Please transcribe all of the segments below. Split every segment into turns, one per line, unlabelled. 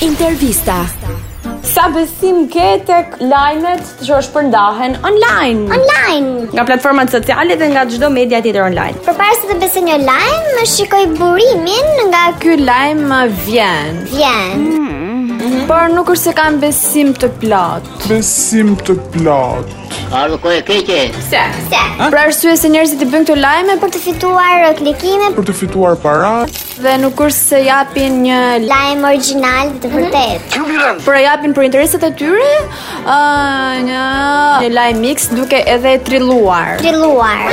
Intervista.
Sa besim ke tek lajmet që është përndahen online,
Online.
nga platformat sociale dhe nga çdo media tjetër online.
Përpara se të besoj një lajm, më shikoj burimin nga
Ky lajm vjen,
vjen.
por nuk është se kam besim të plot.
besim të plot.
Ardhë kohë e keqe,
Pse?
Se,
Për arsye se njerëzit i bëjnë këto lajme
për të fituar klikime,
Për të fituar para,
dhe nuk është se japin një
lajm origjinal të vërtet.
por e japin për interesat e tyre, ë një një lajm mix duke edhe e trilluar,
Trilluar.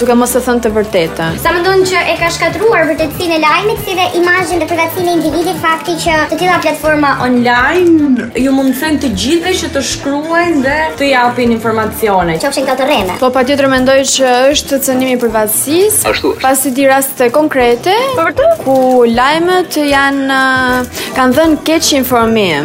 duke mos e thënë të vërtetën.
Sa mendon që e ka shkatruar vërtetësinë e lajmit si dhe imazhin dhe privatësinë e individit fakti që të tilla platforma
Online ju mundësën të gjithëve që të shkruajnë dhe të japin informacione.
qofshin këto të rreme.
Po patjetër mendoj që është të cënimi i privatësisë,
Ashtu është.
pasi di raste konkrete ku lajmet janë ë, kanë dhënë keq informim.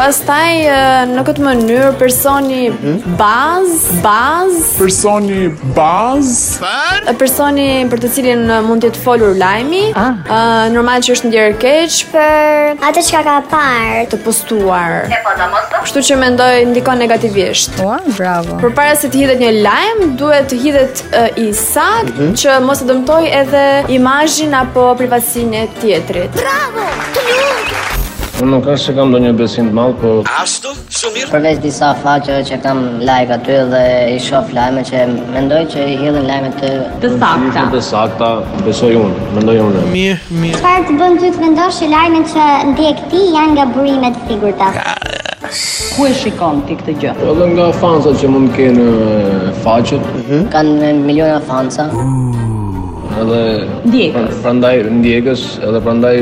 Pastaj ë, në këtë mënyrë personi bazë, bazë
personi bazë,
E personi për të cilin uh, mund të jetë folur lajmi, uh, normal që është ndjerë keq për
Atë çka ka parë,
të postuar. Kështu që mendoj ndikon negativisht. Ua, bravo. Përpara se të hidhet një lajm, duhet të hidhet uh, i sakt që mos të dëmtoj edhe imazhin apo privatësinë e tjetrit.
Unë nuk është që kam do një besim të madhë, po
përveç disa faqe që kam like aty dhe i shoh lajme që mendoj që i hidhin lajme të
ishte të sakta, besoj unë, mendoj unë.
çfarë të bën ty të mendosh që lajmet që ndjek ti janë nga burime të sigurta.
Edhe nga fansat që mund kenë e, faqet,
Mhm. kanë miliona fansa.
edhe... Ndjekës. Prandaj ndjekës, edhe prandaj...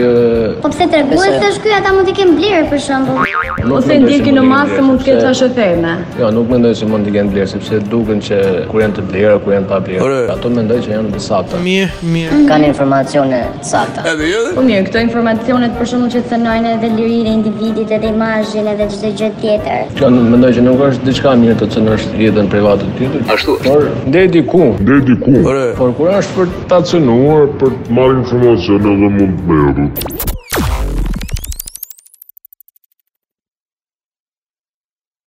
Po pse tregues është ky ata mund të kenë blerë për shembull.
Ose ndjekin në masë mund të ketë qash Jo, nuk mendoj se mund të kenë vlerë, sepse duken që kur janë të vlerë, kur janë pa vlerë. Ato mendoj që janë të sakta.
Kanë informacione të sakta.
Individit edhe imazhin edhe çdo gjë tjetër.
Kjo nuk- mendoj që nuk është diçka e mirë të cënosh jetën private të tjetër. Ashtu. Por deri diku,
Deri diku,
por kur është për ta cënuar,
për të marrë informacione dhe mund të merret.